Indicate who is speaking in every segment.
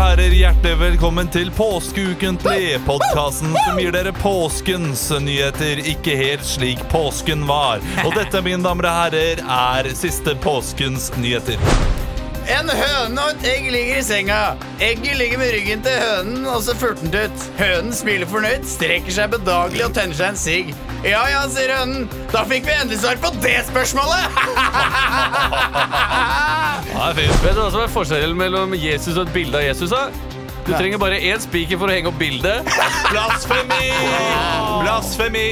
Speaker 1: Hjertelig velkommen til Påskeukentlig, podkasten som gir dere påskens nyheter, ikke helt slik påsken var. Og dette, mine damer og herrer, er siste påskens nyheter.
Speaker 2: En høne og et egg ligger i senga. Egget ligger med ryggen til hønen, og så furter den ut. Hønen smiler fornøyd, strekker seg bedagelig og tenner seg en sigg. Ja ja, sier hønen. Da fikk vi endelig svar på det spørsmålet!
Speaker 1: Ja, det er fint.
Speaker 3: Vet du hva som er forskjellen mellom Jesus og et bilde av Jesus? da? Du trenger bare én spiker for å henge opp bildet.
Speaker 1: Blasfemi! Blasfemi!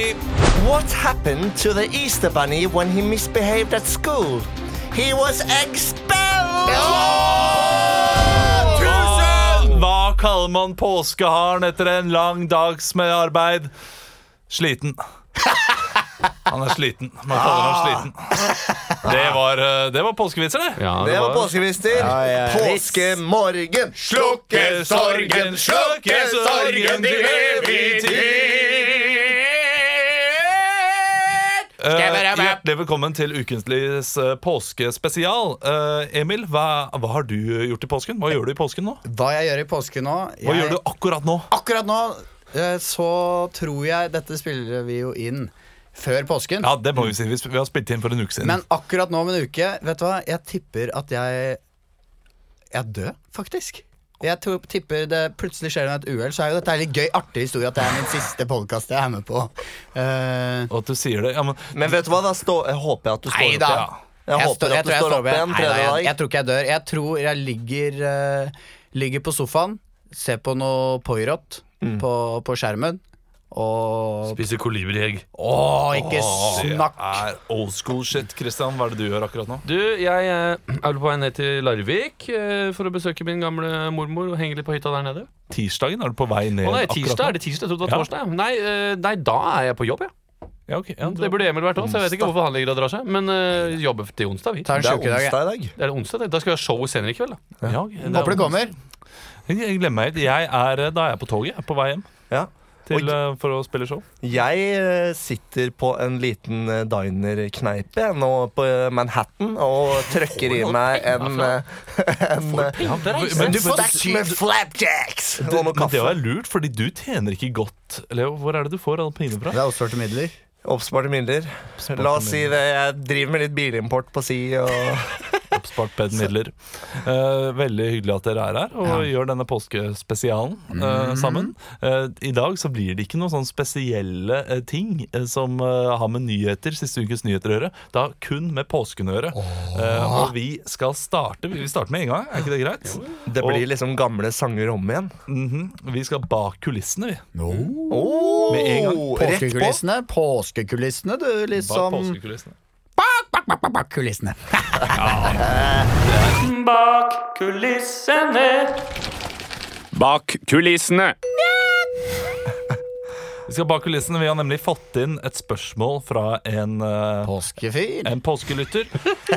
Speaker 4: What happened to the Easter Bunny when he misbehaved at school? He was expelled!
Speaker 1: Hva, hva kaller man påskeharen etter en lang dags med arbeid? Sliten. Han er sliten. Man kaller ham sliten. Det var, eh, det var påskevitser, det.
Speaker 4: Det var påskeminister. Påskemorgen.
Speaker 1: Slukke sorgen, slukke sorgen til evig
Speaker 2: tid.
Speaker 1: Eh, hjertelig velkommen til Ukentligs eh, påskespesial. Eh, Emil, hva, hva har du gjort i påsken? Hva gjør du i påsken nå?
Speaker 2: Hva jeg gjør i påsken nå
Speaker 1: Hva
Speaker 2: jeg-
Speaker 1: gjør du akkurat nå?
Speaker 2: Akkurat nå eh, så tror jeg Dette spiller vi jo inn før påsken.
Speaker 1: Ja, det må vi si. Vi sp- vi har spilt inn for en uke siden.
Speaker 2: Men akkurat nå om en uke, vet du hva, jeg tipper at jeg Jeg er død, faktisk. Jeg tror, tipper det plutselig skjer et uhell, så er jo dette en litt gøy, artig historie at det er min siste podkast jeg er med på. Eh,
Speaker 1: Og at du sier det. Ja, men
Speaker 4: Men vet du hva? Da stå, jeg håper jeg at du står
Speaker 2: Nei da.
Speaker 4: opp igjen. Jeg,
Speaker 2: jeg
Speaker 4: håper
Speaker 2: stå- jeg
Speaker 4: at du
Speaker 2: tror jeg
Speaker 4: står
Speaker 2: står
Speaker 4: opp
Speaker 2: med-
Speaker 4: igjen
Speaker 2: Nei, nei,
Speaker 4: tredje
Speaker 2: jeg, jeg
Speaker 4: dag.
Speaker 2: tror ikke jeg dør. Jeg tror jeg ligger, eh, ligger på sofaen, ser på noe Poirot på, på skjermen, og
Speaker 3: Spiser kolibriegg.
Speaker 2: Å, ikke
Speaker 1: det
Speaker 2: snakk!
Speaker 1: er old school shit. Christian, hva er det du gjør akkurat nå?
Speaker 3: Du, jeg eh, er vel på vei ned til Larvik eh, for å besøke min gamle mormor og henge litt på hytta der nede.
Speaker 1: Tirsdagen? Er du på vei ned?
Speaker 3: Å nei,
Speaker 1: akkurat
Speaker 3: tirsdag?
Speaker 1: nå?
Speaker 3: Er det tirsdag? Jeg trodde det
Speaker 1: Ja.
Speaker 3: var torsdag. Nei, eh, nei, da er jeg på jobb, jeg.
Speaker 1: Ja, ok. ja,
Speaker 3: Det burde Emil vært òg, så jeg vet ikke hvorfor han ligger og drar seg. Men eh, jobber til onsdag, vi.
Speaker 2: Ta en
Speaker 4: Det er
Speaker 2: sjukedag. jeg.
Speaker 4: onsdag i dag.
Speaker 3: Er det onsdag? det? Da skal vi ha show senere i kveld, da.
Speaker 1: ja, ok. Det er-
Speaker 2: Håper det kommer.
Speaker 1: Jeg glemmer helt. Jeg er, eh, da er jeg på toget. Jeg er på vei hjem
Speaker 4: Ja.
Speaker 1: til, eh, for å spille show.
Speaker 4: Jeg eh, sitter på en liten eh, dinerkneipe jeg, nå på eh, Manhattan og trøkker i meg en, eh, en eh,
Speaker 1: Men
Speaker 4: en
Speaker 1: du-
Speaker 4: stack med flapjacks og
Speaker 1: Det,
Speaker 4: noe
Speaker 1: men det
Speaker 4: kaffe.
Speaker 1: var lurt, fordi du tjener ikke godt. Leo, hvor er det du får alle pengene fra?
Speaker 2: Det er oppsparte midler.
Speaker 4: Oppsparte midler. La oss si det. Jeg driver med litt bilimport på si og
Speaker 1: Oppspart bedmidler. Eh, veldig hyggelig at dere er her og gjør denne påskespesialen
Speaker 4: Mm.
Speaker 1: eh, sammen. Eh, I dag så blir det ikke noen sånn spesielle eh, ting eh, som eh, har med nyheter, siste ukes nyheter å gjøre. Det har kun med påsken å gjøre. Eh, og vi skal starte Vi starter med en gang, er ikke det greit?
Speaker 4: Det blir liksom gamle sanger om igjen.
Speaker 1: Mhm. Vi skal bak kulissene, vi.
Speaker 4: Oh,
Speaker 1: Med en gang.
Speaker 4: Rett på.
Speaker 2: Påskekulissene, påskekulissene, du,
Speaker 1: Bak
Speaker 2: liksom.
Speaker 1: påskekulissene.
Speaker 2: Bak, bak, bak, bak kulissene.
Speaker 5: Bak kulissene.
Speaker 1: Vi skal bak kulissene. Vi har nemlig fått inn et spørsmål fra en, eh,
Speaker 2: Påskefyr.
Speaker 1: en påskelytter.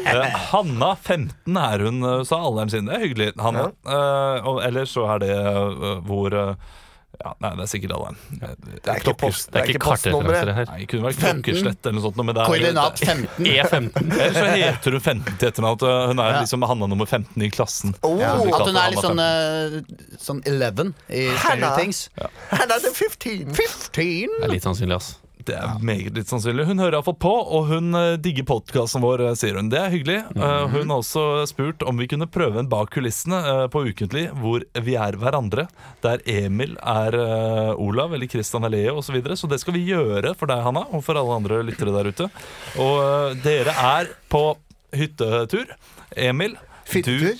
Speaker 1: Eh, Hanna 15 er hun, eh, sa alderen sin. Det er hyggelig, Hanna. Eh, og ellers så er det eh, hvor eh, ja, Nei, det er sikkert alderen.
Speaker 4: Det er ikke, post,
Speaker 3: Det er ikke
Speaker 4: postnummeret.
Speaker 3: kartreferanser her. E
Speaker 1: Nei, det kunne vært klokkeslett eller noe sånt. Men det er,
Speaker 2: Koordinat 15.
Speaker 3: E15.
Speaker 1: Ellers så heter hun 15 til etternavn. at, eh, Hun er liksom Hanna nummer 15 i klassen.
Speaker 4: Oh,
Speaker 1: Så blir
Speaker 2: At
Speaker 1: kalt
Speaker 2: hun er
Speaker 1: Hanna
Speaker 2: litt sånn, eh, sånn 11 i Stranger
Speaker 4: Hanna.
Speaker 2: Things.
Speaker 4: Her er det 15.
Speaker 2: 15.
Speaker 3: Det er litt sannsynlig, ass.
Speaker 1: Det er meget litt sannsynlig. Hun hører iallfall på, og hun eh, digger podkasten vår, eh, sier hun. Det er hyggelig. Eh, hun har også spurt om vi kunne prøve en bak kulissene eh, på Ukentlig, hvor vi er hverandre. Der Emil er eh, Olav eller Christian er Leo osv. Så, videre. så det skal vi gjøre for deg, Hanna, og for alle andre lyttere der ute. Og eh, dere er på hyttetur. Emil,
Speaker 2: Hyttetur?
Speaker 1: du er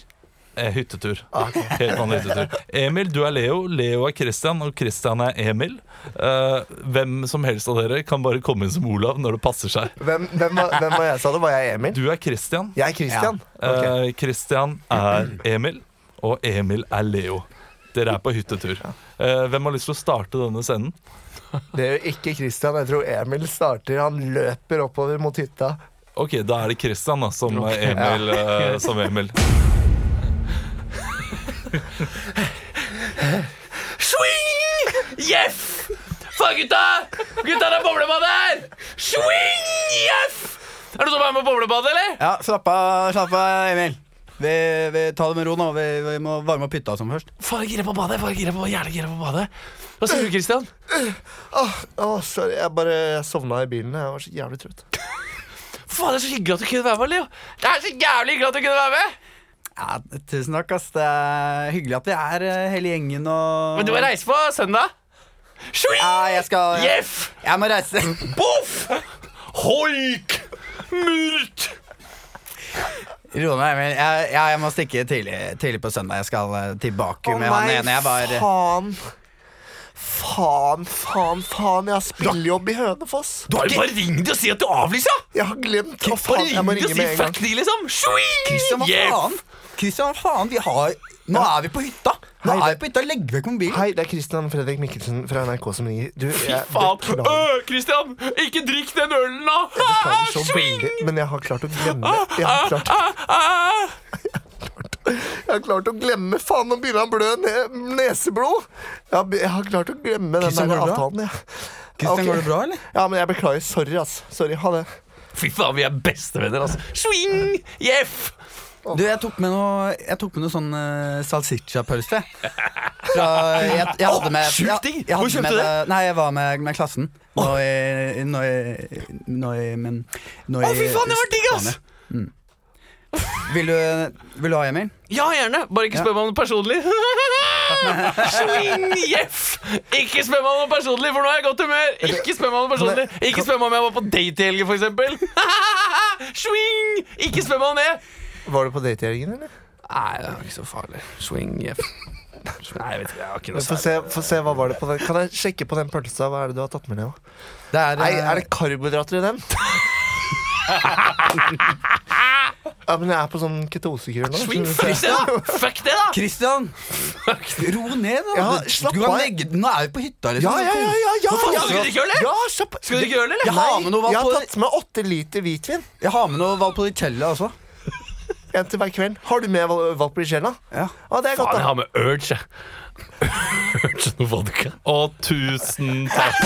Speaker 1: Eh, hyttetur. Helt vanlig hyttetur. Emil, du er Leo, Leo er Christian, og Christian er Emil. Eh, hvem som helst av dere kan bare komme inn som Olav når det passer seg.
Speaker 4: Hvem, hvem, var, hvem var jeg, sa du? Var jeg Emil?
Speaker 1: Du er Christian.
Speaker 4: Jeg er Christian. Ok.
Speaker 1: Eh, Christian er Emil, og Emil er Leo. Dere er på hyttetur. Eh, hvem har lyst til å starte denne scenen?
Speaker 4: Det er jo ikke Christian. Jeg tror Emil starter. Han løper oppover mot hytta.
Speaker 1: Ok, da er det Christian da, som eh, Emil. eh, som Emil.
Speaker 3: Swing! Jeff! Faen, gutta! Gutta, det er boblebad her! Swing! Jeff! Er det noen som er med på boblebadet, eller?
Speaker 2: Ja, slapp av, slapp av, Emil. Vi, vi tar det med ro nå. Vi, vi må varme opp hytta og sånn først.
Speaker 3: Faen, jeg er gira på å bade. Faen, jeg er gira på, jævlig gira på å bade. Hva sier du, Christian?
Speaker 4: Åh, åh, sorry, jeg bare jeg sovna i bilen. Jeg var så jævlig trøtt.
Speaker 3: Faen, det er så hyggelig at du kunne være med, Leo. Det er så jævlig hyggelig at du kunne være med.
Speaker 2: Ja, tusen takk, ass. Det er hyggelig at vi er eh, hele gjengen og
Speaker 3: Men du må reise på søndag. Sjui!
Speaker 2: Ja, jeg skal jeg,
Speaker 3: Jeff!
Speaker 2: jeg må reise.
Speaker 3: Boff! Hoik! Murt!
Speaker 2: Roe deg, Emil. Jeg, jeg, jeg må stikke tidlig, tidlig på søndag. Jeg skal eh, til Baku med han ene jeg var
Speaker 4: faen. Faen, faen, faen. Jeg har spillejobb i Hønefoss.
Speaker 3: Bare, bare ring de og si at du avlyser!
Speaker 4: Jeg har glemt. Å,
Speaker 3: Bare
Speaker 4: faen, jeg
Speaker 3: ring
Speaker 4: må
Speaker 3: de og
Speaker 4: ringe
Speaker 3: si
Speaker 4: med en gang.
Speaker 3: fuck de, liksom. Sjui!
Speaker 2: Christian, hva faen? Christian, hva faen? Vi har Nå er vi på hytta! Nå
Speaker 4: Hei,
Speaker 2: er
Speaker 4: det-
Speaker 2: vi på hytta, legg vekk mobilen.
Speaker 4: Hei, det er Christian Fredrik Mikkelsen fra NRK som ringer. Du, jeg,
Speaker 3: Fy
Speaker 4: beklager.
Speaker 3: faen. Øh, Christian, ikke drikk den ølen, da!
Speaker 2: Ah,
Speaker 4: Beklager så
Speaker 3: Sjui!
Speaker 4: veldig, men jeg har klart å glemme Jeg har klart,
Speaker 3: Ah,
Speaker 4: jeg har klart å glemme Faen, nå begynner han å blø ne neseblod! Jeg har, jeg har klart å glemme den der
Speaker 2: Christian, går det bra?
Speaker 4: avtalen, jeg.
Speaker 2: Christian,
Speaker 4: Ok.
Speaker 2: går det bra, eller?
Speaker 4: Ja, men jeg beklager. Sorry, ass. Sorry, ha det.
Speaker 3: Fy faen, vi er bestevenner, altså. Swing! Jeff!
Speaker 2: Du, jeg tok med noe, jeg tok med noe sånn uh, salsiccia-pølse. Fra jeg, jeg hadde med
Speaker 3: sjukt
Speaker 2: jeg-
Speaker 3: digg!
Speaker 2: jeg
Speaker 3: Hvor
Speaker 2: hadde
Speaker 3: kjøpte
Speaker 2: med
Speaker 3: du det?
Speaker 2: Nei, jeg var med, med klassen. Nå i Nå i Nå i men, nå
Speaker 3: Å,
Speaker 2: i
Speaker 3: fy faen, det var digg, ass!
Speaker 2: Spania. Mm. Vil, du, vil du ha, Emil?
Speaker 3: Ja, gjerne. Bare ikke spør meg om det personlig. Swing, Jeff! Ikke spør meg om det personlig, for nå er jeg i godt humør. Ikke spør meg om det personlig. Ikke spør meg om jeg var på date i helgen, for eksempel. Swing! Ikke spør meg om det.
Speaker 4: Var du på date i helgen, eller?
Speaker 3: Nei, det er ikke så farlig. Swing, Jeff. Nei, jeg vet ikke. Jeg har ikke noe
Speaker 4: Få
Speaker 3: særlig.
Speaker 4: se, få se, hva var det på den Kan jeg sjekke på den pølsa? Hva er det du har tatt med, Leo?
Speaker 2: Det er,
Speaker 4: Nei,
Speaker 2: eh,
Speaker 4: er det karbohydrater i den? ja, men jeg er på sånn ketosekur nå.
Speaker 3: Swing, fuck det, da! Fuck det, da!
Speaker 2: Christian! Ro ned, da.
Speaker 4: Ja,
Speaker 2: Du-
Speaker 4: slapp
Speaker 2: du kan
Speaker 4: av.
Speaker 2: legge, nå er vi på hytta, liksom.
Speaker 4: Ja, ja, ja, ja, ja.
Speaker 3: faen, skal du drikke øl, eller?
Speaker 4: Ja, slapp-
Speaker 3: Skal du drikke øl, eller?
Speaker 4: Jeg har med noe
Speaker 2: vann
Speaker 4: Jeg har
Speaker 2: på-
Speaker 4: tatt med åtte liter hvitvin.
Speaker 2: Jeg har med noe Valpolicella også.
Speaker 4: En til hver kveld. Har du med val- Valpolicella?
Speaker 2: Ja.
Speaker 4: Ja, det er
Speaker 3: Faen,
Speaker 4: godt,
Speaker 3: jeg
Speaker 4: da.
Speaker 3: har med urge, jeg. Urge noe vodka.
Speaker 1: Og tusen takk.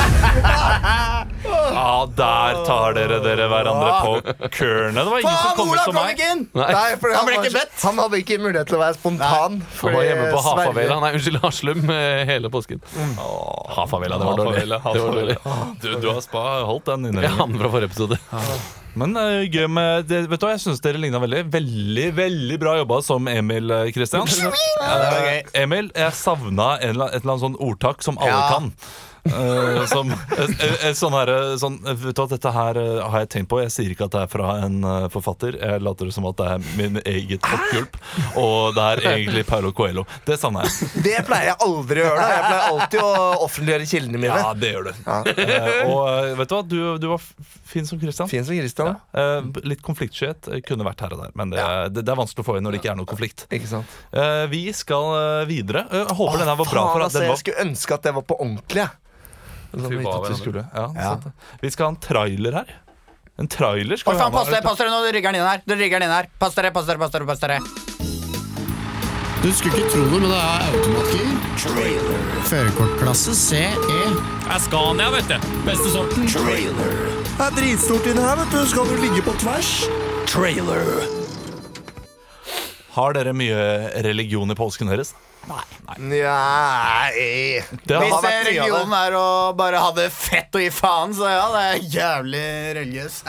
Speaker 1: Ja, der tar dere dere hverandre på kørne. Det var ingen som
Speaker 2: Faen,
Speaker 1: kom ut
Speaker 2: Ola
Speaker 1: som
Speaker 2: kom
Speaker 1: meg.
Speaker 2: ikke inn!
Speaker 3: Nei.
Speaker 4: fordi
Speaker 2: Han ble
Speaker 4: var
Speaker 2: ikke
Speaker 4: så-
Speaker 2: bedt.
Speaker 4: Han hadde ikke mulighet til å være spontan.
Speaker 3: Han var hjemme på
Speaker 4: fordi eh, Sverre-
Speaker 3: Hafavela. Nei, unnskyld, Haslum eh, hele påsken. Hafavela, det var dårlig.
Speaker 1: Hafavela,
Speaker 3: Det var dårlig.
Speaker 1: Hafavela. Ah, Du, du har spa, holdt den
Speaker 3: Ja,
Speaker 1: inne. lenge.
Speaker 3: han fra forrige episode.
Speaker 1: Men eh, gøy med det, Vet du hva, jeg syns dere ligna veldig. Veldig veldig bra jobba som Emil eh, Kristian. Eh, Emil, jeg savna en, eller- et eller annet sånn ordtak som alle
Speaker 2: Ja.
Speaker 1: kan. Eh, som et, et, et sånn her, eh, sånn, eh, Vet du hva, dette her eh, har jeg tenkt på. Jeg sier ikke at det er fra en eh, forfatter. Jeg later som at det er min eget oppgulp. Og det er egentlig Paulo Coelho. Det savna jeg.
Speaker 4: Det pleier jeg aldri å gjøre. da. Jeg pleier alltid å offentliggjøre kildene mine.
Speaker 1: Ja, det gjør du. Eh, og eh, vet du hva, du, du var f- fin som Kristian.
Speaker 4: Fin som Christian.
Speaker 1: Eh, b- litt konfliktskyhet eh, kunne vært her og der, men det, det, det er vanskelig å få inn når det ikke er noe konflikt.
Speaker 4: Ikke sant?
Speaker 1: Eh, vi skal eh, videre. Eh, håper denne var bra.
Speaker 4: Faen,
Speaker 1: for at
Speaker 4: altså,
Speaker 1: den
Speaker 4: jeg
Speaker 1: var
Speaker 4: skulle ønske at det var på ordentlig. jeg.
Speaker 1: Som
Speaker 3: Fy
Speaker 1: vi
Speaker 3: faen,
Speaker 1: tatt vi
Speaker 3: hverandre.
Speaker 1: skulle. Ja, sant det. Vi skal ha en trailer her. En trailer
Speaker 2: Å,
Speaker 1: skal vi ha
Speaker 2: faen, pass dere,
Speaker 1: med.
Speaker 2: pass dere nå. Det rygger den inn her. Det rygger den inn her. Pass dere, pass dere, pass dere. pass dere.
Speaker 6: Du skulle ikke tro det, men det er automatgir. Førerkortklasse E. CE.
Speaker 5: Askania, vet du. Beste sorten.
Speaker 4: Det er dritstort inne her, vet du. Skal du ligge på tvers?
Speaker 1: Har dere mye religion i påsken deres?
Speaker 4: Nei
Speaker 1: Det
Speaker 4: Hvis
Speaker 1: har
Speaker 4: jeg-
Speaker 2: Hvis
Speaker 1: vært
Speaker 4: vært mye av
Speaker 2: religionen er å bare ha det fett og gi faen, så ja, det er jævlig religiøs.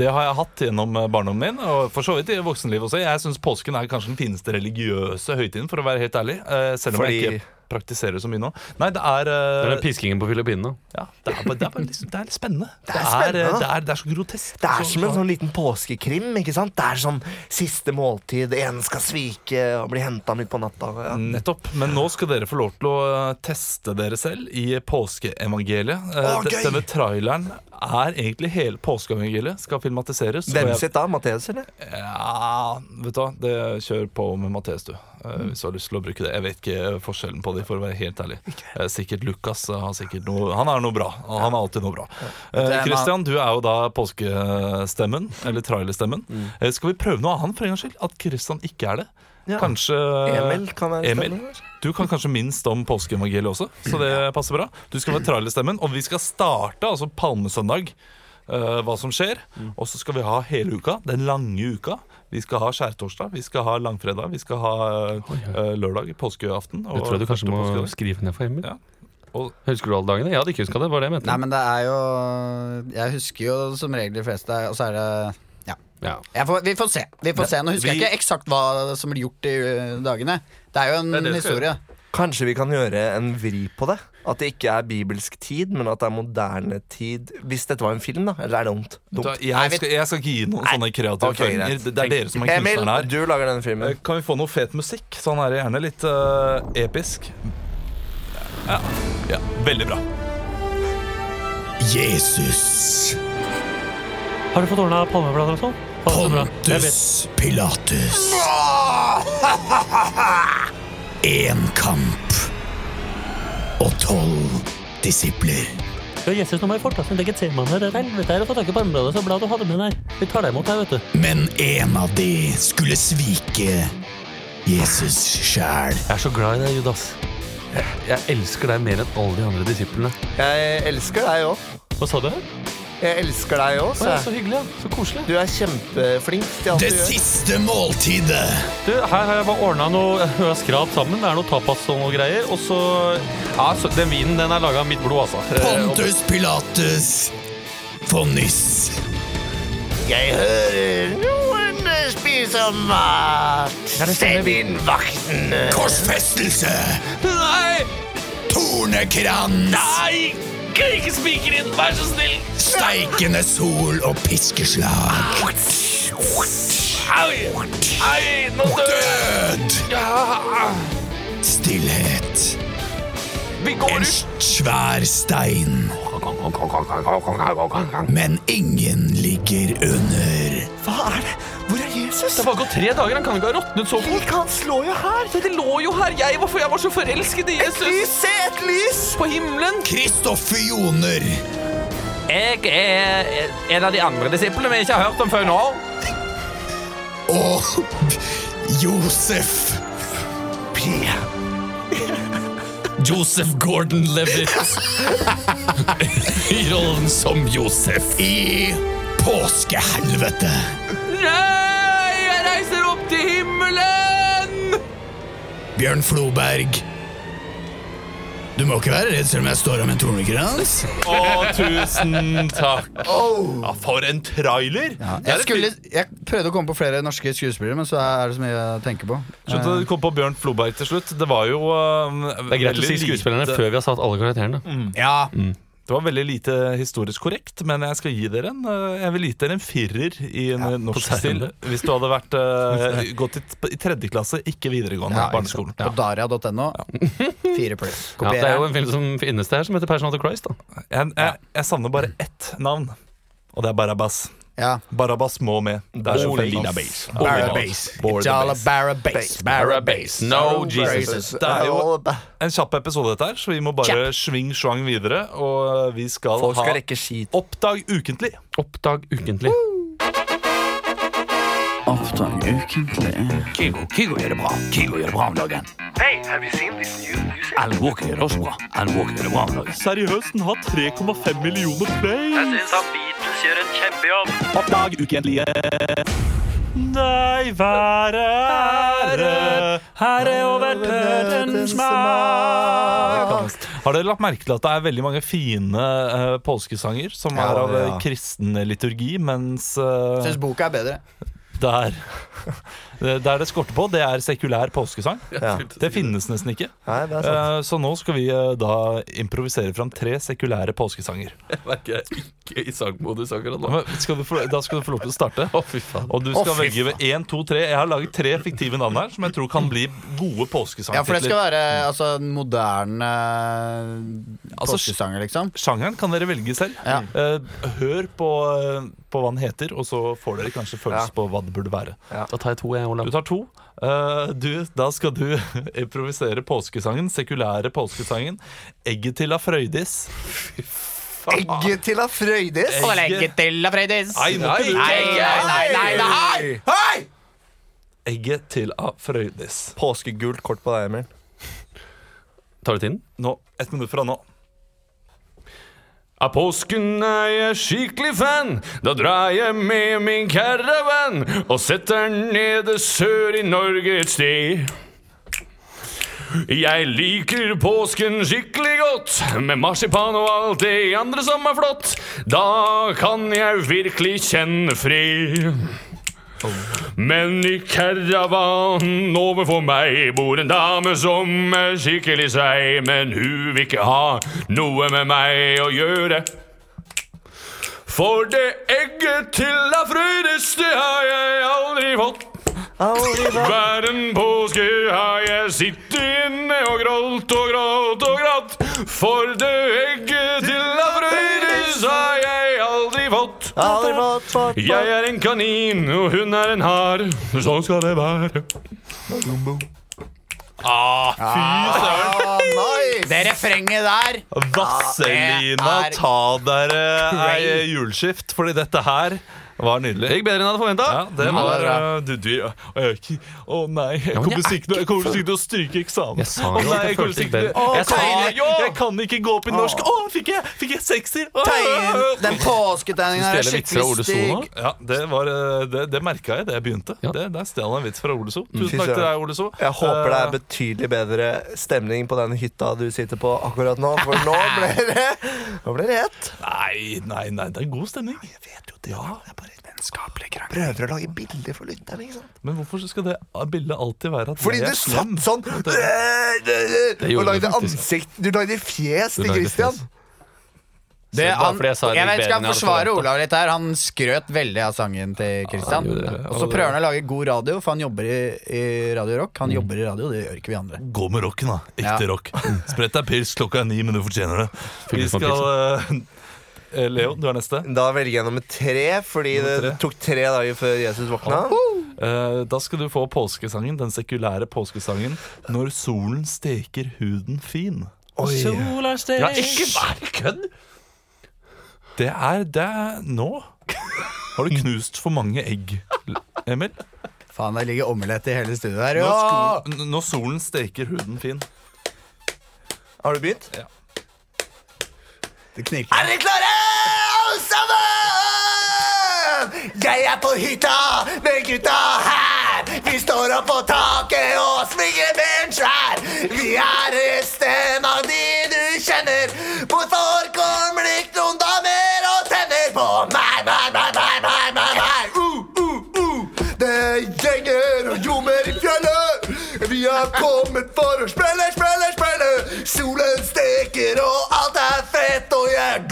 Speaker 1: Det har jeg hatt gjennom eh, barndommen min, og for så vidt i voksenlivet også. Jeg syns påsken er kanskje den fineste religiøse høytiden, for å være helt ærlig. Eh, selv om
Speaker 4: Fordi-
Speaker 1: jeg ikke praktiserer så mye nå. Nei, det er, eh,
Speaker 3: Det er den piskingen på Filippinene.
Speaker 1: ja, det, er bare, det, er bare, litt- det er litt spennende. Det er,
Speaker 4: spennende,
Speaker 1: eh,
Speaker 4: da.
Speaker 1: det er, det er så grotesk.
Speaker 4: Det er
Speaker 1: Så-
Speaker 4: som en sånn liten påskekrim. ikke sant? Det er sånn siste måltid, en skal svike og bli henta midt på natta. Ja.
Speaker 1: Nettopp. Men nå skal dere få lov til å eh, teste dere selv i påskeevangeliet. Eh,
Speaker 4: Å,
Speaker 1: de-
Speaker 4: gøy!
Speaker 1: Denne traileren er egentlig hele påskeevangeliet skal filmatiseres. og
Speaker 4: Hvem
Speaker 1: jeg-
Speaker 4: sitt da? Matteus, eller?
Speaker 1: Ja, vet du hva, det kjør på med Matteus, du. eh,
Speaker 4: Mm.
Speaker 1: Hvis du har lyst til å bruke det. Jeg vet ikke forskjellen på de, for å være helt ærlig. Eh, Sikkert Lukas eh, har sikkert noe Han er noe bra. og Han er alltid noe bra. Eh, Christian, du er jo da påskestemmen, eller trailerstemmen.
Speaker 4: Mm.
Speaker 1: Eh, Skal vi prøve noe annet for en gangs skyld? At Christian ikke er det?
Speaker 4: Ja.
Speaker 1: Kanskje
Speaker 4: Emil kan være
Speaker 1: Emil, du kan kanskje minst om påskeevangeliet også, så det passer bra. Du skal være trailerstemmen, og vi skal starte altså palmesøndag. eh, eh, hva som skjer. Og så skal vi ha hele uka, den lange uka. Vi skal ha skjærtorsdag, vi skal ha langfredag, vi skal ha eh, eh, lørdag, påskeaften.
Speaker 3: Det tror jeg du
Speaker 1: første
Speaker 3: kanskje må
Speaker 1: påskedag.
Speaker 3: skrive ned for Emil.
Speaker 1: Ja. Og-
Speaker 3: Husker du alle dagene? Jeg hadde ikke huska det. var det jeg mente
Speaker 2: Nei, men det er jo Jeg husker jo som regel de fleste, og så er det Ja.
Speaker 3: ja.
Speaker 2: Jeg får, vi får se. Vi får se. Nå husker jeg
Speaker 1: vi-
Speaker 2: ikke eksakt hva som blir gjort i ø, dagene. Det er jo en
Speaker 3: er det du skal
Speaker 2: historie.
Speaker 4: Kanskje vi kan gjøre en vri på det? At det ikke er bibelsk tid, men at det er moderne tid. Hvis dette var en film, da. Eller er det dumt?
Speaker 1: Vet du hva,
Speaker 4: dumt.
Speaker 1: Jeg skal, jeg skal ikke gi noen sånne kreative
Speaker 4: ok,
Speaker 1: føringer.
Speaker 4: greit.
Speaker 1: Det det er dere som er
Speaker 4: Emil,
Speaker 1: kunstnerne her.
Speaker 4: du lager denne
Speaker 1: Eh,
Speaker 4: filmen.
Speaker 1: Kan vi få noe fet musikk? Sånn er det gjerne litt eh, episk. Ja. ja, Veldig bra.
Speaker 6: Jesus.
Speaker 7: Har du fått ordna palmeblader og sånn? Faen, så bra. Jeg vet.
Speaker 6: Pontus Pilatus. Én kamp og tolv disipler.
Speaker 7: Ja, Jesus, nå må jeg forta sin eget seman her. Det er helvete her å få tak i palmeblader. Så bra du hadde med den her. Vi tar deg imot her, vet du.
Speaker 6: Men en av de skulle svike Jesus sjæl.
Speaker 3: Jeg er så glad i deg, Judas. Jeg, jeg elsker deg mer enn alle de andre disiplene.
Speaker 4: Jeg elsker deg òg.
Speaker 7: Hva sa du?
Speaker 4: Jeg elsker deg òg,
Speaker 3: Det
Speaker 4: sa
Speaker 3: er
Speaker 4: jeg.
Speaker 3: så hyggelig, ja. Så koselig.
Speaker 4: Du er kjempeflink til alt
Speaker 6: Det
Speaker 4: du gjør.
Speaker 6: siste måltidet.
Speaker 7: Du, her har jeg bare ordna noe jeg har skrap sammen. Det er noe tapas og noe greier. Og så Ja, så den vinen, den er laga av mitt blod, altså. Eh, og-
Speaker 6: Pontus Pilatus på nyss.
Speaker 4: Jeg hører noen spiser mat. Send inn vakten.
Speaker 6: Korsfestelse.
Speaker 3: Nei!
Speaker 6: Tornekrans.
Speaker 3: Nei! Ikke spiker inn, vær så snill!
Speaker 6: Steikende sol og piskeslag.
Speaker 3: Au! Au! Nå dør jeg!
Speaker 6: Død.
Speaker 3: Ah!
Speaker 6: Stillhet.
Speaker 3: Vi går
Speaker 6: En
Speaker 3: ut!
Speaker 6: svær stein. Men ingen ligger under.
Speaker 4: Hva er det? Hvor er
Speaker 7: Eh,
Speaker 4: Jesus?
Speaker 3: Det var gått tre dager, han kan ikke ha råtnet så fort.
Speaker 4: Han slår jo her.
Speaker 3: Det lå jo her jeg var, for jeg var så forelsket i Jesus.
Speaker 4: Se et lys!
Speaker 3: På himmelen.
Speaker 6: Kristoffer Joner.
Speaker 3: Jeg er en av de andre disiplene vi ikke har hørt om før nå.
Speaker 6: og Josef
Speaker 5: Joseph Gordon-Levitt i rollen som Josef.
Speaker 6: i påskehelvete.
Speaker 3: Nei, jeg reiser opp til himmelen!
Speaker 6: Bjørn Floberg. Du må ikke være redd selv om jeg står om en tornekrans.
Speaker 1: Å, tusen takk. Ja, for en trailer! Det er
Speaker 2: Jeg,
Speaker 1: et
Speaker 2: skulle,
Speaker 1: fint-
Speaker 2: jeg prøvde å komme på flere norske skuespillere, men så er det så mye å tenke på.
Speaker 1: Skjønte du kom på Bjørn Floberg til slutt. Det var jo eh,
Speaker 3: Det er greit å
Speaker 1: veldig
Speaker 3: si skuespillerne
Speaker 1: lite-
Speaker 3: før vi har satt alle
Speaker 7: Mm.
Speaker 3: karakterene.
Speaker 2: Ja,
Speaker 1: Det var veldig lite historisk korrekt, men jeg skal gi dere en eh, Jeg vil gi dere en firer i en eh, norsk stil. Hvis du hadde vært eh, gått i, t- i tredje klasse, ikke videregående.
Speaker 2: Ja,
Speaker 1: barneskolen.
Speaker 2: På daria.no. Fire pluss.
Speaker 3: Ja, det er
Speaker 2: Kopierer.
Speaker 3: jo en film som finnes der som heter Passion of the Christ. da
Speaker 1: Jeg, jeg, jeg savner bare ett navn, og det er Barabas.
Speaker 2: Ja.
Speaker 1: Barabbas må med. Det er jo
Speaker 4: Ole
Speaker 1: feil navn.
Speaker 4: Barabas.
Speaker 2: Barabase.
Speaker 1: Barabas.
Speaker 2: Jala Barabase. Barabase.
Speaker 3: No
Speaker 2: Jesus.
Speaker 1: Det er jo en kjapp episode, dette her, så vi må bare sving-svang videre. Og eh, vi skal
Speaker 4: Folk skal
Speaker 1: ha
Speaker 4: rekke skit.
Speaker 1: Oppdag ukentlig.
Speaker 3: Oppdag ukentlig.
Speaker 1: Seriøst, den har 3,5 millioner play. Jeg syns han Beatles gjør en kjempejobb. Oppdag ukentlige.
Speaker 7: Nei, være ære, herre over dødens makt.
Speaker 1: Har dere lagt merke til at det er veldig mange fine eh, påskesanger som
Speaker 4: Ja,
Speaker 1: er av eh,
Speaker 4: ja.
Speaker 1: kristen liturgi, mens eh,
Speaker 2: Syns boka er bedre.
Speaker 1: der Der det skorter på, det er sekulær påskesang.
Speaker 4: Ja.
Speaker 1: Det finnes nesten ikke.
Speaker 4: Nei, det er sant.
Speaker 1: Eh, Så nå skal vi eh, da improvisere fram tre sekulære påskesanger.
Speaker 3: Merker jeg ikke i sangmodus akkurat
Speaker 1: Men Skal du få, da skal du få lov til å starte.
Speaker 3: Å, fy faen.
Speaker 1: Og du skal velge ved én, to, tre. Jeg har laget tre fiktive navn her som jeg tror kan bli
Speaker 2: Ja, for det
Speaker 1: gode
Speaker 2: skal
Speaker 1: påskesangtitler.
Speaker 2: være altså, en moderne
Speaker 1: Altså,
Speaker 2: påskesanger, liksom.
Speaker 1: Sjangeren kan dere velge selv.
Speaker 2: Ja.
Speaker 1: Eh, Hør på, eh, på hva den heter, og så får dere kanskje følelse på hva det burde være.
Speaker 3: Da tar jeg to, jeg,
Speaker 1: Du
Speaker 3: Olav.
Speaker 1: tar to. Eh, du, da skal du improvisere påskesangen, sekulære påskesangen. 'Egget til av Frøydis'.
Speaker 4: Egget til av Frøydis?
Speaker 1: Og legget
Speaker 2: til av Freydis.
Speaker 1: Nei, må ikke du-
Speaker 4: nei, nei!
Speaker 1: Egget til av Frøydis.
Speaker 4: Påskegult kort på deg, Emil.
Speaker 3: Tar du tiden?
Speaker 1: Nå, Ett minutt fra nå.
Speaker 8: Av påsken er jeg skikkelig fan. Da drar jeg med min caravan og setter den nede sør i Norge et sted. Jeg liker påsken skikkelig godt, med marsipan og alt det andre som er flott. Da kan jeg virkelig kjenne fred. Men i karavanen overfor meg bor en dame som er skikkelig seig, men hun vil ikke ha noe med meg å gjøre. For det egget til da Frøydis, det har jeg aldri fått. Hver en påske har jeg sittet inne og grått og grått og grått. For det egget til da Frøydis har jeg aldri fått.
Speaker 2: Ah.
Speaker 9: Aldri fått, fått, fått.
Speaker 8: Jeg er en kanin, og hun er en hare. Sånn skal det være.
Speaker 2: Ah, nice. Det refrenget der
Speaker 1: Vasselina,
Speaker 2: det er
Speaker 1: ta dere ei juleskift, fordi dette her var nydelig.
Speaker 8: Gikk bedre enn jeg hadde forventa.
Speaker 1: Ja, det var
Speaker 2: det
Speaker 1: øh, du, du, ja. Å jeg er ikke- å nei, jeg
Speaker 7: men
Speaker 1: kommer
Speaker 7: jeg er
Speaker 1: sikkert jeg kommer sikkert til å stryke eksamen.
Speaker 7: Jeg sa
Speaker 1: Å
Speaker 7: jo at
Speaker 1: nei,
Speaker 7: jeg
Speaker 1: jeg kommer
Speaker 7: følte ikke
Speaker 1: sikkert
Speaker 7: bedre.
Speaker 1: til- Å,
Speaker 7: Jeg sa
Speaker 1: Kaine,
Speaker 8: jo!
Speaker 1: Jeg kan ikke gå opp i norsk. Å, fikk jeg, fikk jeg sekser? Å,
Speaker 2: Tegn, Den påsketegninga er
Speaker 7: Stjele vitser av Ole
Speaker 2: skikkelig
Speaker 7: Sona?
Speaker 2: stygg.
Speaker 1: Ja, det, var, eh, det, det merka jeg da jeg begynte.
Speaker 7: Ja. Mm.
Speaker 1: Det, der stjal jeg en vits fra Ole So. Tusen
Speaker 9: Fy
Speaker 1: takk til
Speaker 9: søren.
Speaker 1: deg, Ole So.
Speaker 9: Jeg håper det
Speaker 1: Eh,
Speaker 9: er betydelig bedre stemning på den hytta du sitter på akkurat nå, for nå ble det Nå ble det hett.
Speaker 1: Nei, nei, nei, det er god stemning. Jeg vet jo det. Ja, jeg bare
Speaker 9: Prøver å lage bilder for lytterne, ikke sant.
Speaker 1: Men hvorfor skal det bildet alltid være at
Speaker 9: Fordi
Speaker 1: jeg
Speaker 9: du
Speaker 1: er slem?
Speaker 9: satt sånn øh, øh,
Speaker 7: gjorde
Speaker 9: og
Speaker 7: du
Speaker 9: lagde
Speaker 7: faktisk.
Speaker 9: ansikt Du lagde fjes
Speaker 7: Du
Speaker 9: til
Speaker 7: lagde
Speaker 9: Christian.
Speaker 7: fjes.
Speaker 2: Det,
Speaker 7: bare
Speaker 2: han,
Speaker 7: fordi jeg
Speaker 2: jeg
Speaker 7: sa det
Speaker 2: vet
Speaker 7: bedre
Speaker 2: ikke,
Speaker 7: enn
Speaker 2: han
Speaker 7: jeg hadde
Speaker 2: forsvarer
Speaker 7: forventet.
Speaker 2: Olav litt her. Han skrøt veldig av sangen til Christian.
Speaker 7: gjorde Mm. det.
Speaker 2: Og så prøver han å lage god radio, for han jobber i, i Radio Rock. Han jobber i radio, det gjør ikke vi andre.
Speaker 1: Gå med rocken, da. Ekte
Speaker 2: Ja.
Speaker 1: rock. Spredt deg pils, klokka er ni, men du fortjener det. Vi
Speaker 7: litt
Speaker 1: skal eh, eh, Leo, du er neste.
Speaker 9: Da velger jeg nummer tre, fordi det tok tre dager før Jesus våkna.
Speaker 1: Eh, da skal du få påskesangen, den sekulære påskesangen 'Når solen steker huden fin'.
Speaker 9: Oi.
Speaker 7: Ja,
Speaker 8: Ikke vær kødd!
Speaker 1: Det er det er nå. Har du knust for mange egg, Emil?
Speaker 2: Faen, der ligger omelett i hele studioet her.
Speaker 1: Når,
Speaker 2: Ja!
Speaker 1: sko- når solen steker huden fin.
Speaker 9: Har du begynt?
Speaker 2: Det knirker.
Speaker 9: Er dere klare, alle sammen? Jeg er på hytta med gutta her. Vi står opp på taket og svinger med en svær. Vi er resten av de du kjenner. Hvorfor kommer det ikke noen damer og tenner på meg, meg, meg, meg, meg, meg, meg? Uh, uh, uh. Det gjenger og ljomer i fjellet. Vi har kommet for å spille, spille, spille. Solen steker og alt er fett, og jeg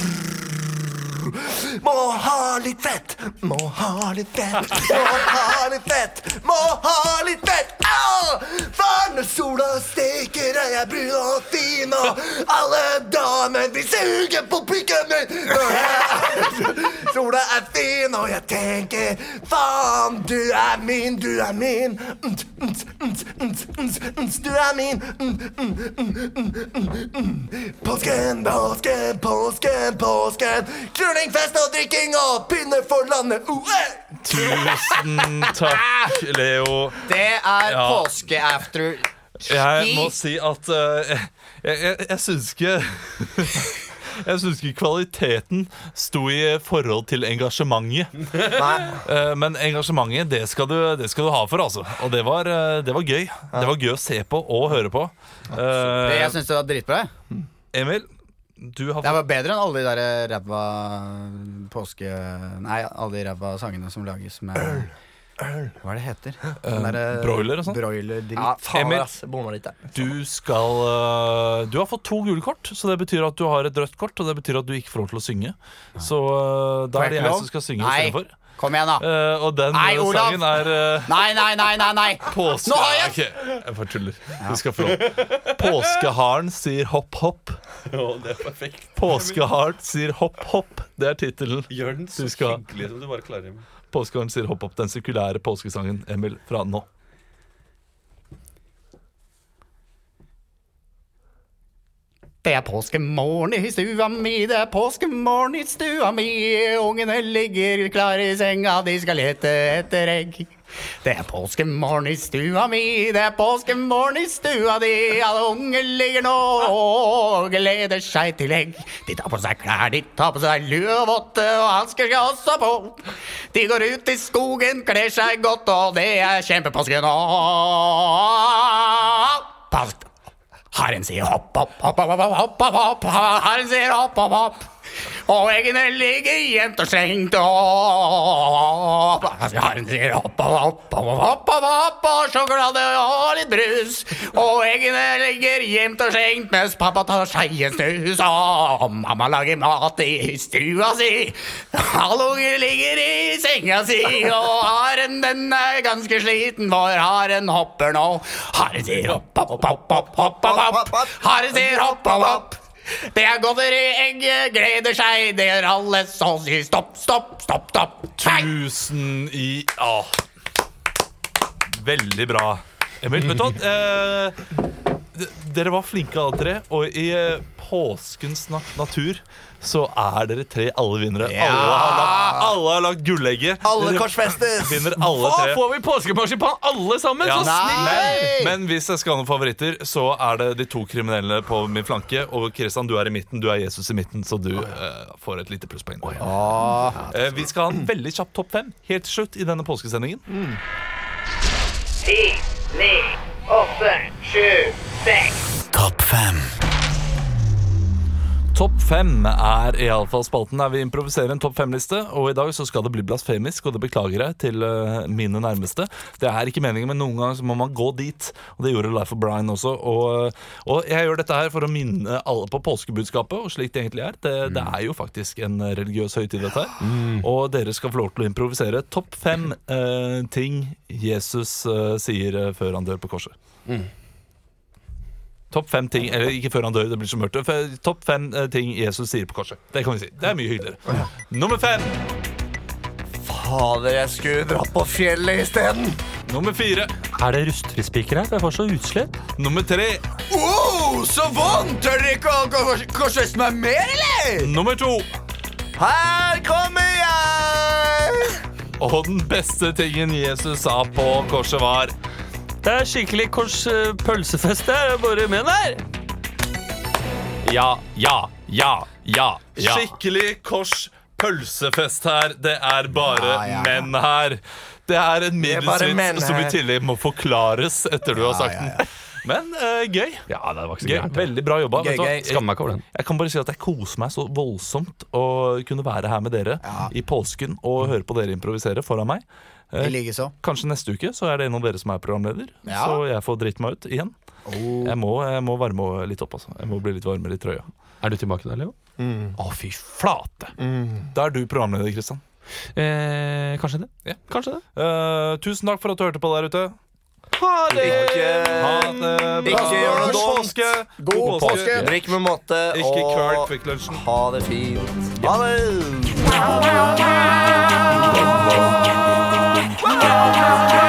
Speaker 9: må ha litt fett, må ha litt fett, må ha litt fett, må ha litt fett. Au! For når sola steker, er jeg brun og fin, og alle damer vil suge på pikken min. Når jeg- Sola er fin, og jeg tenker faen, du er min, du er min. Mm, mm, mm, mm, mm, mm, Du er min. Mm, mm, mm, mm, mm, mm. Påsken, påsken, påsken, påsken. Krullingfest og drikking og pinne for landet. Uh, eh.
Speaker 1: Tusen Mm, takk, Leo.
Speaker 2: Det er
Speaker 1: Ja.
Speaker 2: påskeafter.
Speaker 1: Jeg må si at eh, jeg, jeg, jeg syns ikke Jeg syns ikke kvaliteten sto i forhold til engasjementet. Eh, Men engasjementet, det skal, du, det skal du ha for, altså. Og det var, eh, det var gøy. Det var gøy å se på og høre på. Eh,
Speaker 2: Jeg syns det var dritbra. jeg.
Speaker 1: Emil, du har
Speaker 2: Det var bedre enn alle de der ræva påske... Nei, alle de ræva sangene som lages med Hva er det heter? Den derre-
Speaker 1: broiler og sånn?
Speaker 2: Broiler-dritt.
Speaker 1: faen, Emil. ass,
Speaker 9: Bomma litt der.
Speaker 1: Du skal øh, Du har fått to gule kort, så det betyr at du har et rødt kort. Og det betyr at du ikke får lov til å synge. Så øh, da
Speaker 2: Får jeg
Speaker 1: er det
Speaker 2: ikke
Speaker 1: jeg
Speaker 2: lov?
Speaker 1: som skal synge
Speaker 2: Nei.
Speaker 1: istedenfor.
Speaker 2: Kom igjen, da.
Speaker 1: Uh, og den
Speaker 2: Nei,
Speaker 1: øh,
Speaker 2: Olav!
Speaker 1: sangen er øh,
Speaker 2: Nei, nei, nei, nei. nei.
Speaker 1: Påske...
Speaker 2: Nå har jeg-
Speaker 1: Ok, jeg bare tuller. Du skal få lov. Påskeharen sier hopp, hopp.
Speaker 7: det er perfekt.
Speaker 1: Påskeharen sier hopp, hopp. Det er tittelen.
Speaker 7: Gjør den
Speaker 1: Du skal-
Speaker 7: hyggelig som du bare klarer.
Speaker 1: Påskeharen sier hopp, hopp. Den sekulære påskesangen, Emil, fra nå.
Speaker 2: Det er påskemorgen i stua mi, det er påskemorgen i stua mi. Ungene ligger klare i senga, de skal lete etter egg.
Speaker 5: Det er påskemorgen i stua mi, det er påskemorgen i stua di. Alle unger ligger nå og gleder seg til egg. De tar på seg klær, de tar på seg lue og votte, og hansker skal også på. De går ut i skogen, kler seg godt, og det er kjempepåske nå. Pass Haren sier hopp, hopp, hopp, hopp, hopp, hopp, hopp, hopp. Haren sier hopp, hopp, hopp. Og eggene ligger gjemt og slengt opp. Altså, Haren sier hopp, hopp, hopp, hopp, hopp, hopp, hopp, og sjokolade og litt brus. Og eggene ligger gjemt og slengt mens pappa tar seg en snus. Og mamma lager mat i stua si. Alle unger ligger i senga si. Og haren den er ganske sliten, for haren hopper nå. Haren sier hopp, hopp, hopp, hopp, hopp, hopp hopp, hopp, hopp, hopp. Hare sier hopp, hopp, hopp. Det er godteri, egget gleder seg, det gjør alle, så sier stopp, stopp, stopp, stopp. Hei!
Speaker 1: Tusen i Ja. Veldig bra. Emil, vet du hva? Eh, d- dere var flinke alle tre, og i eh, påskens na natur så er dere tre alle vinnere. Alle har lagt, alle har lagt gullegget.
Speaker 4: Alle
Speaker 1: Dere
Speaker 4: korsfestes!
Speaker 1: vinner alle
Speaker 3: Da
Speaker 1: tre.
Speaker 3: får vi påskemarsipan alle sammen!
Speaker 1: Ja.
Speaker 3: Så snill!
Speaker 1: Men, men hvis jeg skal ha noen favoritter, så er det de to kriminelle på min flanke. Og Kristian, du er i midten. Du er Jesus i midten, så du eh, får et lite plusspoeng. Eh, vi skal ha en veldig kjapp topp fem helt til slutt i denne påskesendingen.
Speaker 9: ti, ni, åtte, sju, seks.
Speaker 4: Topp fem.
Speaker 1: Topp fem er iallfall spalten der vi improviserer en topp fem-liste. Og i dag så skal det bli blasfemisk, og det beklager jeg til eh, mine nærmeste. Det er ikke meningen, men noen ganger så må man gå dit. Og det gjorde Life of Brian også. Og, og jeg gjør dette her for å minne alle på påskebudskapet, og slik det egentlig er. Det, det er jo faktisk en religiøs høytid, dette her. Og dere skal få lov til å improvisere topp fem eh, ting Jesus eh, sier eh, før han dør på korset. Topp fem ting Eller ikke før han dør, det blir så mørkt. for Topp fem eh, ting Jesus sier på korset. Det kan vi si. Det er mye hyggeligere. Nummer fem.
Speaker 4: Fader, jeg skulle dratt på fjellet isteden.
Speaker 1: Nummer fire.
Speaker 3: Er det rustfri spiker her? For jeg får så utslett.
Speaker 1: Nummer tre.
Speaker 4: Wow, så vondt! Tør dere ikke å kors- korsfeste meg mer, eller?
Speaker 1: Nummer to.
Speaker 4: Her kommer jeg!
Speaker 1: Og den beste tingen Jesus sa på korset, var
Speaker 3: Det er skikkelig kors eh, pølsefest der. Jeg bare med der. Ja, ja, ja, ja. ja.
Speaker 1: skikkelig kors pølsefest her. Det er bare menn her. Det er en
Speaker 4: er bare menn
Speaker 1: minusvits som i
Speaker 4: her.
Speaker 1: tillegg må forklares etter du har sagt den. Men eh, gøy.
Speaker 3: Ja, det var ikke så
Speaker 1: gøy.
Speaker 3: gærent.
Speaker 1: Veldig bra jobba. Vet du hva?
Speaker 4: gøy.
Speaker 3: Skammer meg ikke over den.
Speaker 1: Jeg kan bare si at jeg koser meg så voldsomt å kunne være her med dere i påsken og høre på dere improvisere foran meg.
Speaker 5: I likeså.
Speaker 1: Kanskje neste uke så er det en av dere som er programleder, så jeg får drite meg ut igjen. Jeg, må, jeg må varme og- litt opp, altså. Jeg må bli litt varmere i trøya.
Speaker 3: Er du tilbake der, Leo? Å, fy flate.
Speaker 1: Da er du programleder, Kristian.
Speaker 3: Eh, kanskje det.
Speaker 1: Ja.
Speaker 3: Kanskje det.
Speaker 1: Eh, tusen takk for at du hørte på der ute. Ha det bra.
Speaker 4: Ikke gjør noe
Speaker 1: God
Speaker 4: dumt.
Speaker 1: påske.
Speaker 4: God påske. Drikk med måte
Speaker 1: Ikke kvel
Speaker 4: og
Speaker 1: Kvikk Lunsjen.
Speaker 4: ha det fint. Ha det!
Speaker 9: Thank